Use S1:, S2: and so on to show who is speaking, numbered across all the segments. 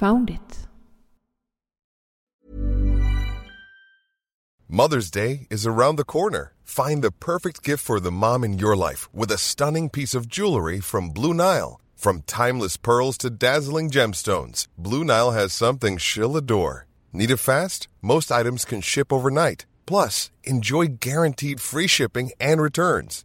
S1: Found it.
S2: Mother's Day is around the corner. Find the perfect gift for the mom in your life with a stunning piece of jewelry from Blue Nile. From timeless pearls to dazzling gemstones, Blue Nile has something she'll adore. Need it fast? Most items can ship overnight. Plus, enjoy guaranteed free shipping and returns.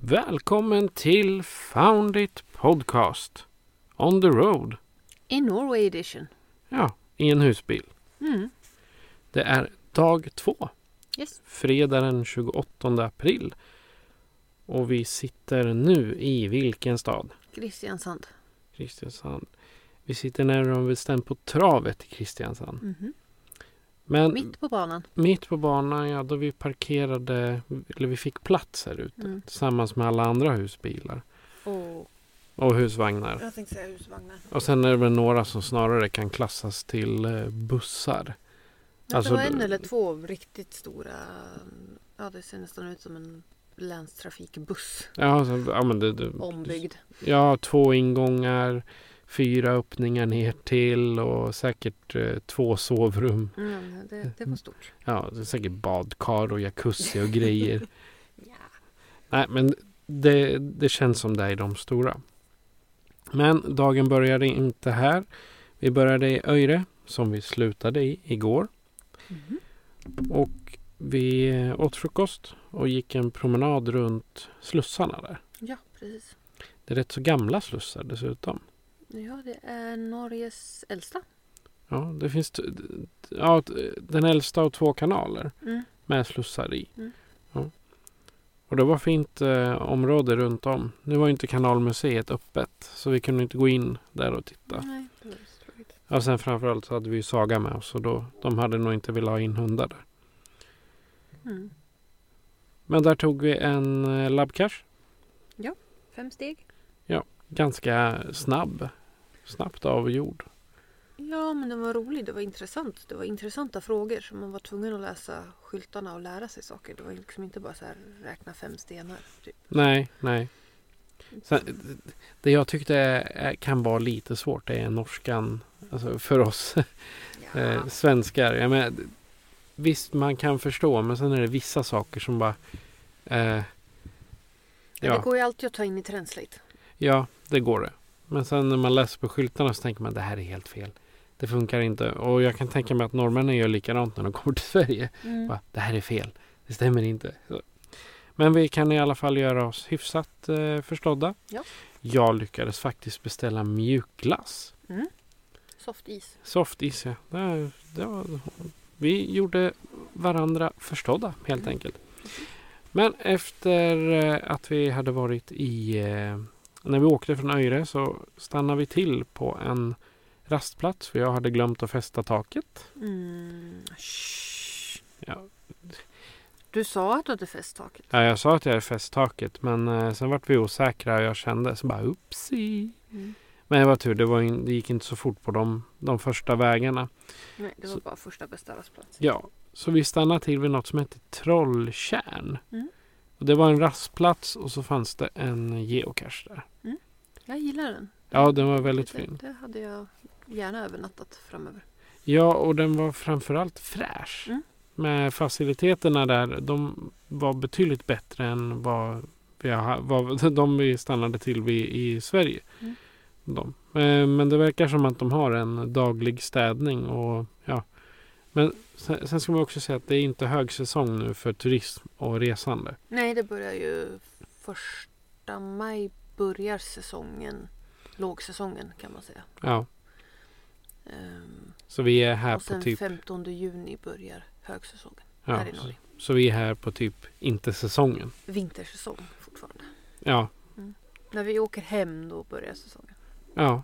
S3: Välkommen till Found It Podcast. On the road.
S1: I Norway edition.
S3: Ja, i en husbil.
S1: Mm.
S3: Det är dag två.
S1: Yes.
S3: Fredag den 28 april. Och vi sitter nu i vilken stad?
S1: Kristiansand.
S3: Kristiansand. Vi sitter närmare bestämt på travet i Kristiansand.
S1: Mhm.
S3: Men
S1: Mitt på banan.
S3: Mitt på banan, ja, då vi parkerade, eller vi fick plats här ute
S1: Mm.
S3: tillsammans med alla andra husbilar
S1: Och
S3: och husvagnar.
S4: Jag tänkte säga husvagnar.
S3: Och sen är det väl några som snarare kan klassas till eh, bussar. Alltså,
S1: det var en
S3: du-
S1: eller två riktigt stora. Ja, det ser nästan ut som en länstrafikbuss.
S3: Ja, så, ja, men det, det,
S1: Ombyggd.
S3: ja två ingångar, fyra öppningar ner till och säkert eh, två sovrum.
S1: Mm, det, det var stort.
S3: Ja, det är säkert badkar och jacuzzi och grejer.
S1: Ja.
S3: Nej, men det, det känns som det är de stora. Men dagen började inte här. Vi började i Öjre som vi slutade i igår.
S1: Mhm.
S3: Och vi eh, åt frukost och gick en promenad runt slussarna där.
S1: Ja, precis.
S3: Det är rätt så gamla slussar dessutom.
S1: Ja, det är Norges äldsta.
S3: Ja, det finns t- ja, t- den äldsta av två kanaler
S1: Mm.
S3: med slussar i.
S1: Mm.
S3: Ja. Och det var fint eh, område runt om. Nu var ju inte kanalmuseet öppet så vi kunde inte gå in där och titta.
S1: Nej, det var så tråkigt.
S3: Och sen framförallt så hade vi ju Saga med oss och då, de hade nog inte velat ha in hundar där.
S1: Mm.
S3: Men där tog vi en eh, labcash.
S1: Fem steg.
S3: Ganska snabb. Snabbt avgjord.
S1: Ja, men den var rolig. Det var intressant. Det var intressanta frågor. Så man var tvungen att läsa skyltarna och lära sig saker. Det var liksom inte bara så här räkna fem stenar. Typ.
S3: Nej, nej. Sen, det jag tyckte är, kan vara lite svårt det är norskan. Alltså för oss eh, svenskar. Jag menar, visst, man kan förstå men sen är det vissa saker som bara... Eh,
S1: Men Det
S3: ja,
S1: går ju alltid att ta in i Translate.
S3: ja, det går det. Men sen när man läser på skyltarna så tänker man det här är helt fel. Det funkar inte. Och jag kan tänka mig att norrmännen gör likadant när de kommer till Sverige.
S1: Mm.
S3: Va? Det här är fel. Det stämmer inte. Så. Men vi kan i alla fall göra oss hyfsat eh, förstådda.
S1: Ja.
S3: Jag lyckades faktiskt beställa mjukglass.
S1: Softis.
S3: Softis, ja. Det, det var, vi gjorde varandra förstådda helt
S1: Mm.
S3: enkelt. Men efter eh, att vi hade varit i... eh, När vi åkte från Öjre så stannade vi till på en rastplats för jag hade glömt att fästa taket.
S1: Mm. Shh.
S3: Ja,
S1: Du sa att du hade festtaket.
S3: Ja, jag sa att jag är festtaket men eh, sen vart vi osäkra och jag kände så bara upsi.
S1: Mm.
S3: Men det var tur, det, var in, det gick inte så fort på de, de första vägarna.
S1: Nej, det var
S3: Så-
S1: bara första bästa rastplats.
S3: Ja, så vi stannade till vid något som hette Trolltjärn.
S1: Mm.
S3: Och det var en rastplats och så fanns det en geocache där.
S1: Jag gillar den.
S3: Ja, den var väldigt
S1: det,
S3: fin.
S1: det hade jag gärna övernattat framöver.
S3: Ja, och den var framförallt fräsch.
S1: Mm.
S3: Med faciliteterna där, de var betydligt bättre än vad vi har, vad, de vi stannade till vid i Sverige.
S1: Mm.
S3: De. Eh, Men det verkar som att de har en daglig städning och ja. Men sen, sen ska man också säga att det är inte högsäsong nu för turism och resande.
S1: Nej, det börjar ju första maj börjar säsongen. Lågsäsongen kan man säga.
S3: Ja,
S1: Ehm,
S3: så vi är här
S1: och
S3: på
S1: sen
S3: typ...
S1: 15 juni börjar högsäsongen
S3: Ja,
S1: här i Norge.
S3: så, Så vi är här på typ inte säsongen.
S1: Vintersäsong fortfarande.
S3: Ja,
S1: När vi åker hem då börjar säsongen.
S3: ja.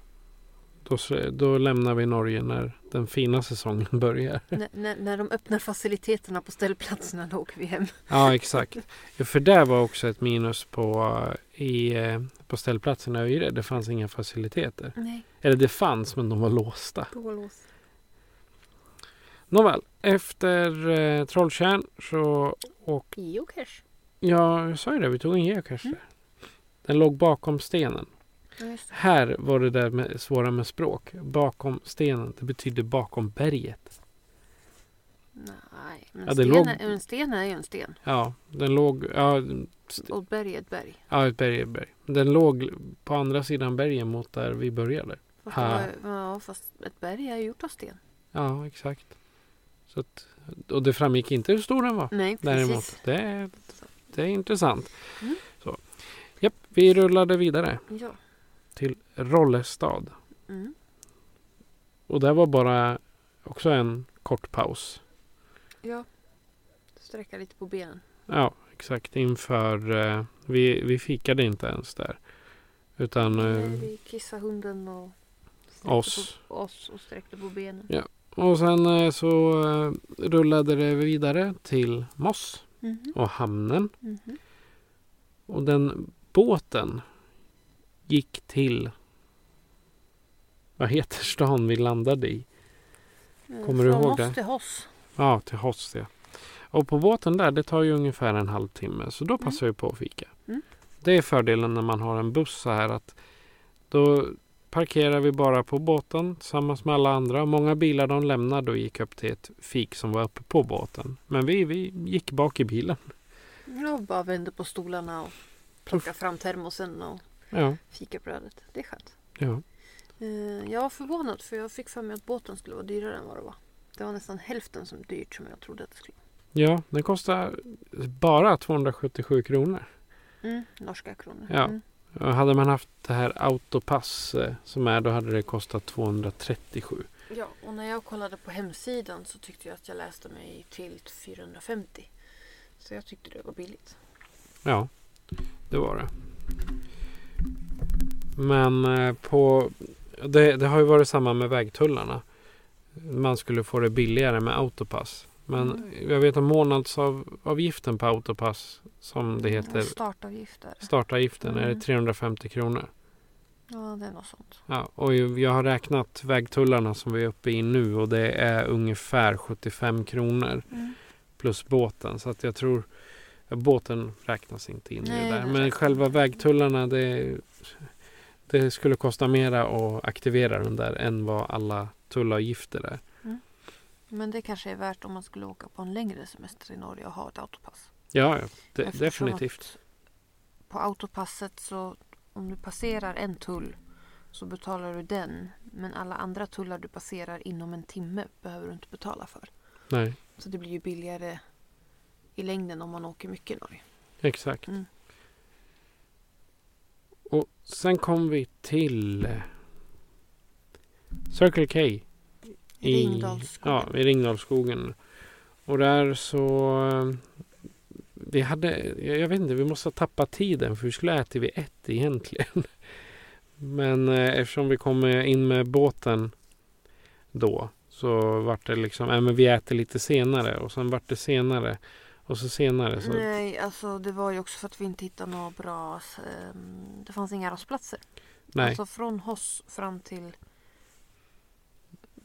S3: Då, s- då lämnar vi Norge när den fina säsongen börjar.
S1: N- när- när de öppnar faciliteterna på ställplatserna då åker vi hem.
S3: Ja, exakt. Ja, för där var också ett minus på, eh, i, eh, på ställplatserna i Öjre. Det fanns inga faciliteter.
S1: Nej,
S3: Eller det fanns, men de var låsta.
S1: blålås.
S3: Nåväl, efter eh, Trolltjärn så
S1: Geocache.
S3: Ja, jag sa ju det. Vi tog en geocache där. Den låg bakom stenen.
S1: Ja, just det.
S3: Här var det där med, svåra med språk. Bakom stenen. Det betyder bakom berget.
S1: Nej, men
S3: Ja, det
S1: sten,
S3: låg-
S1: är, en sten är ju en sten.
S3: Ja, den låg... Ja, st-
S1: Och ett berg är ett berg.
S3: ja ett berg är ett berg. Den låg på andra sidan bergen mot där vi började.
S1: Fast det
S3: Ha.
S1: var- Ja, fast ett berg är gjort av sten.
S3: Ja, exakt. Så att, och det framgick inte hur stor den var.
S1: Nej, Mm, precis.
S3: Däremot, det, är- det är intressant.
S1: Mm.
S3: Så. Japp, vi rullade vidare
S1: Ja.
S3: till Rollestad.
S1: Mm.
S3: Och där var bara också en kort paus.
S1: ja. Sträcka lite på benen.
S3: Ja, exakt. Inför... Eh, vi, vi fikade inte ens där. Utan... Eh,
S1: Nej, vi kissade hunden och sträckte
S3: Oss.
S1: På, oss och sträckte på benen.
S3: och sen eh, så eh, rullade det vidare till Moss
S1: Mhm.
S3: och hamnen.
S1: Mhm.
S3: Och den båten gick till... Vad heter stan vi landade i? Kommer du
S1: Från
S3: ihåg
S1: oss
S3: det?
S1: till oss.
S3: Ja, till Hoss ja. Och på båten där, det tar ju ungefär en halvtimme. Så då passar vi på att fika.
S1: Mm.
S3: Det är fördelen när man har en buss så här att då parkerar vi bara på båten tillsammans med alla andra. Många bilar de lämnade och gick upp till ett fik som var uppe på båten. Men vi, vi gick bak i bilen.
S1: Jag bara vände på stolarna och plockade fram termosen och
S3: Ja,
S1: fikabrödet. Det är skönt.
S3: ja.
S1: Eh, Jag var förvånad för jag fick för mig att båten skulle vara dyrare än vad det var. Det var nästan hälften så dyrt som jag trodde att det skulle
S3: ja den kostar bara 277 kronor.
S1: vara. Mm. Norska kronor.
S3: Ja.
S1: Mm.
S3: Och hade man haft det här autopass eh, som är då hade det kostat 237.
S1: Ja, och när jag kollade på hemsidan så tyckte jag att jag läste mig till 450. Så jag tyckte det var billigt.
S3: Ja, det var det. Men eh, på... Det, det har ju varit samma med vägtullarna. Man skulle få det billigare med autopass. Men jag vet att månadsavgiften på autopass som Mm, det heter,
S1: Och Startavgifter.
S3: startavgiften, är
S1: Mm.
S3: det 350 kronor.
S1: Ja, det är något sånt.
S3: Ja, och ju- jag har räknat vägtullarna som vi är uppe i nu och det är ungefär 75 kronor plus båten. Så att jag tror ja, båten räknas inte in i
S1: Nej,
S3: det där.
S1: den
S3: Men
S1: räknas
S3: själva
S1: inte.
S3: vägtullarna det, det skulle kosta mera att aktivera den där än vad alla tullavgifter är.
S1: Men det kanske är värt om man skulle åka på en längre semester i Norge och ha ett autopass.
S3: Ja, ja de,
S1: Eftersom
S3: definitivt.
S1: att På autopasset så om du passerar en tull så betalar du den. Men alla andra tullar du passerar inom en timme behöver du inte betala för.
S3: Nej,
S1: Så det blir ju billigare i längden om man åker mycket i Norge.
S3: exakt.
S1: Mm.
S3: Och sen kom vi till eh, Circle K. i,
S1: Ringdalsskogen.
S3: ja, i Ringdalsskogen. Och där så... eh, Vi hade, jag jag vet inte, vi måste ha tappat tiden för vi skulle ha ätit vid ett egentligen. Men eh, eftersom vi kom eh, in med båten då så vart det liksom, nej men vi äter lite senare och sen vart det senare och så senare. Så,
S1: Nej, alltså det var ju också för att vi inte hittade några bra... ehm, Det fanns inga rastplatser.
S3: nej,
S1: Alltså från Hoss fram till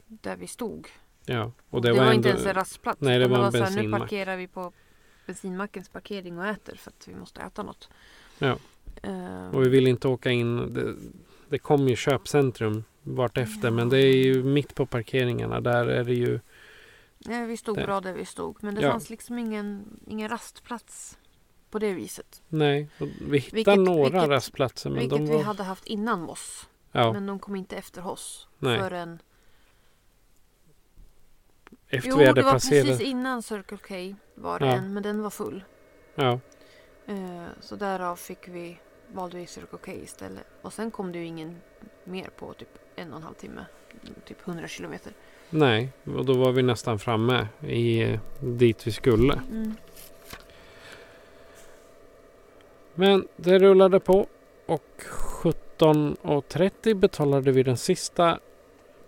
S1: där vi stod.
S3: ja.
S1: Och det, var, inte ens en rastplats.
S3: Nej, det
S1: utan
S3: var en
S1: så här, Nu
S3: bensinmack.
S1: parkerar vi på bensinmackens parkering och äter för att vi måste äta något.
S3: Ja.
S1: Ehm,
S3: Och vi vill inte åka in. Det, det kom ju köpcentrum vartefter. Men det är ju mitt på parkeringarna. Där är det ju.
S1: nej, vi stod
S3: där.
S1: bra där vi stod. Men det
S3: Ja.
S1: fanns liksom ingen, ingen rastplats på det viset.
S3: Nej. och Vi hittar
S1: Vilket-
S3: några
S1: vilket-
S3: rastplatser. Men
S1: vilket
S3: de
S1: vi
S3: var,
S1: hade haft innan Moss.
S3: ja,
S1: Men de kom inte efter Hoss.
S3: Nej.
S1: Förrän...
S3: efter
S1: Jo,
S3: vi
S1: det
S3: hade
S1: var
S3: passerat.
S1: precis innan Circle K var det
S3: Ja.
S1: en, men den var full.
S3: Ja,
S1: Eh, så därav fick vi, valde vi Circle K istället. Och sen kom det ju ingen mer på typ en och en halv timme. Typ 100 kilometer.
S3: nej. Och då var vi nästan framme i eh, dit vi skulle.
S1: Mm.
S3: Men det rullade på och 17.30 betalade vi den sista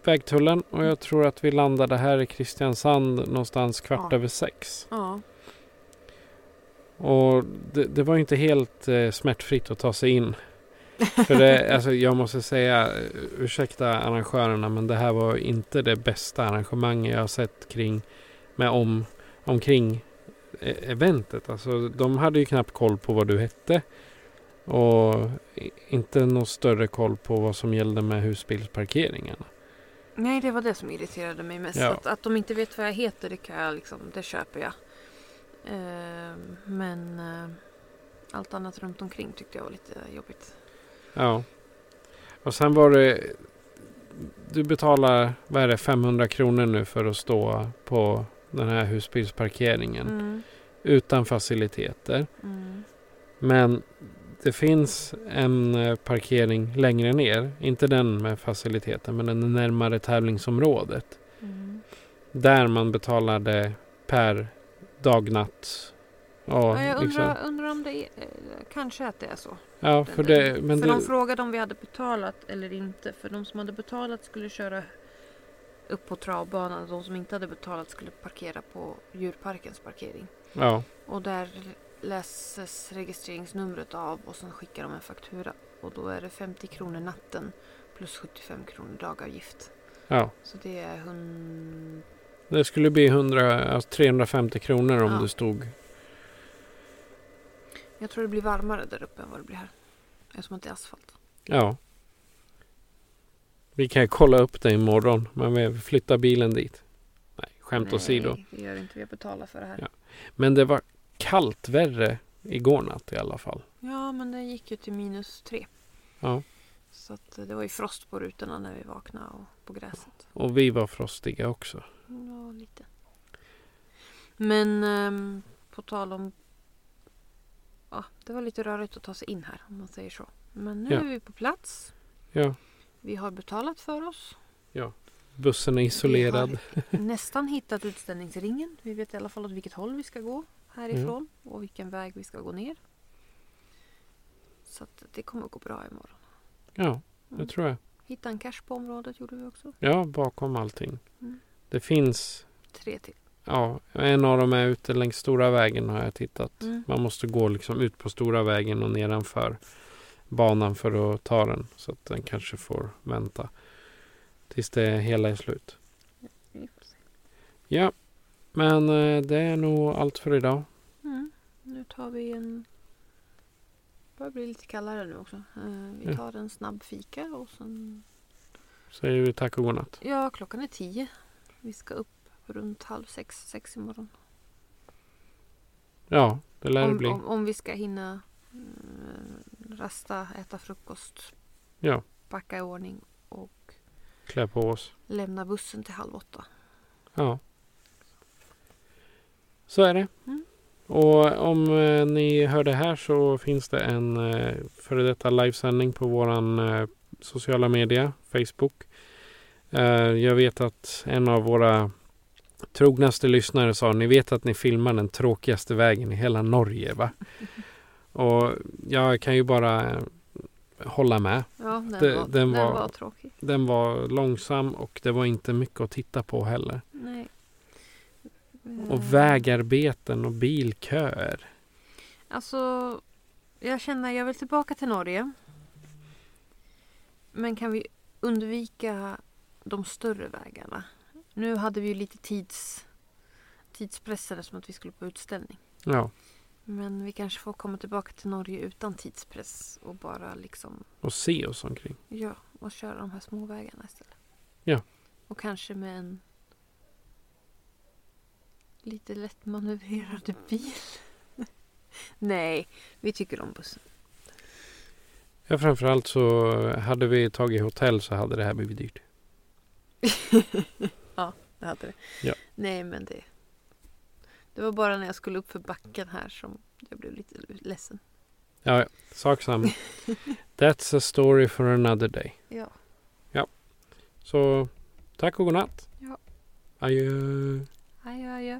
S3: vägtullen och jag tror att vi landade här i Kristiansand någonstans kvart
S1: Ja.
S3: över sex.
S1: Ja.
S3: Och det, det var ju inte helt eh, smärtfritt att ta sig in. För det, alltså, jag måste säga, eh, ursäkta arrangörerna, men det här var inte det bästa arrangemang jag har sett kring, med om, omkring eh, eventet. Alltså, de hade ju knappt koll på vad du hette. Och i- inte någon större koll på vad som gällde med husbilsparkeringarna.
S1: Nej, det var det som irriterade mig mest.
S3: Ja.
S1: Att, att de inte vet vad jag heter, det, kan jag liksom, det köper jag. Ehm, men eh, allt annat runt omkring tyckte jag var lite jobbigt.
S3: Ja. Och sen var det... Du betalar, vad är det, 500 kronor nu för att stå på den här husbilsparkeringen.
S1: Mm.
S3: Utan faciliteter.
S1: Mm.
S3: Men det finns en eh, parkering längre ner. Inte den med faciliteten, men den närmare tävlingsområdet.
S1: Mm.
S3: Där man betalade per dag, natt. Ja,
S1: Ja, jag
S3: liksom.
S1: undrar, undrar om det är, eh, kanske att det är så.
S3: ja för det... Men
S1: Eh, för
S3: det,
S1: de frågade om vi hade betalat eller inte. För de som hade betalat skulle köra upp på travbanan. De som inte hade betalat skulle parkera på djurparkens parkering.
S3: ja.
S1: Och där läses registreringsnumret av och sen skickar de en faktura. Och då är det 50 kronor natten plus 75 kronor dagavgift.
S3: ja.
S1: Så det är 100...
S3: Det skulle bli 100, alltså 350 kronor om
S1: Ja.
S3: du stod.
S1: Jag tror det blir varmare där uppe än vad det blir här. Eftersom att det är asfalt.
S3: Ja. Vi kan kolla upp det imorgon. Men vi flyttar bilen dit. Nej, skämt åsido.
S1: Nej, vi gör inte. Vi betalar för det här.
S3: Ja. Men det var kallt värre igår natt i alla fall.
S1: Ja, men den gick ju till minus tre.
S3: Ja.
S1: Så att eh, det var ju frost på rutorna när vi vaknade och på gräset.
S3: Och vi var frostiga också.
S1: Ja, lite. Men ehm, på tal om... Ja, det var lite rörigt att ta sig in här om man säger så. Men nu
S3: Ja.
S1: är vi på plats.
S3: Ja,
S1: Vi har betalat för oss.
S3: bussen är isolerad.
S1: Nästan hittat utställningsringen. Vi vet i alla fall åt vilket håll vi ska gå härifrån
S3: Mm.
S1: och vilken väg vi ska gå ner. Så att det kommer att gå bra imorgon.
S3: Ja, det
S1: Mm.
S3: tror jag.
S1: Hitta en cash på området gjorde vi också.
S3: Ja, bakom allting.
S1: Mm.
S3: Det finns,
S1: Tre till.
S3: ja, en av dem är ute längs stora vägen har jag tittat.
S1: Mm.
S3: Man måste gå liksom ut på stora vägen och nedanför banan för att ta den. Så att den kanske får vänta tills det hela är slut.
S1: Vi får se.
S3: Ja, men eh, det är nog allt för idag.
S1: Mm. Nu tar vi en... Det börjar bli lite kallare nu också. Eh,
S3: Ja.
S1: Vi tar en snabb fika och sen...
S3: Säger vi tack och godnatt.
S1: Ja, klockan är tio. Vi ska upp runt halv sex, sex imorgon.
S3: Ja, det lär det
S1: Om,
S3: bli.
S1: om, om vi ska hinna mm, rasta, äta frukost,
S3: Ja,
S1: packa i ordning och
S3: klä på oss.
S1: lämna bussen till halv åtta.
S3: Ja. Så är det.
S1: Mm.
S3: Och om eh, ni hör det här så finns det en eh, före detta livesändning på våran eh, sociala media, Facebook. Eh, jag vet att en av våra trognaste lyssnare sa, ni vet att ni filmar den tråkigaste vägen i hela Norge va? Och jag kan ju bara eh, hålla med.
S1: Ja, den,
S3: Det-
S1: var,
S3: den
S1: den,
S3: var-
S1: var... tråkig.
S3: Den var långsam och det var inte mycket att titta på heller.
S1: Nej. Eh,
S3: Och vägarbeten och bilköer.
S1: Alltså, jag känner jag vill tillbaka till Norge. Men kan vi undvika de större vägarna? Nu hade vi ju lite tids, tidspressen eftersom att vi skulle på utställning.
S3: Ja.
S1: Men vi kanske får komma tillbaka till Norge utan tidspress och bara liksom,
S3: Och se oss omkring.
S1: ja, och köra de här små vägarna istället.
S3: Ja.
S1: Och kanske med en lite lätt manövrerade bil. Nej, vi tycker om bussen.
S3: Ja, framförallt så hade vi tagit hotell så hade det här blivit dyrt.
S1: Det hade det.
S3: Ja.
S1: Nej, men det... Det var bara när jag skulle upp för backen här som jag blev lite ledsen.
S3: Ja, ja. sak samma. That's a story for another day.
S1: Ja.
S3: Så tack och godnatt.
S1: Ja.
S3: Adjö.
S1: Adjö, adjö.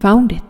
S5: Found it.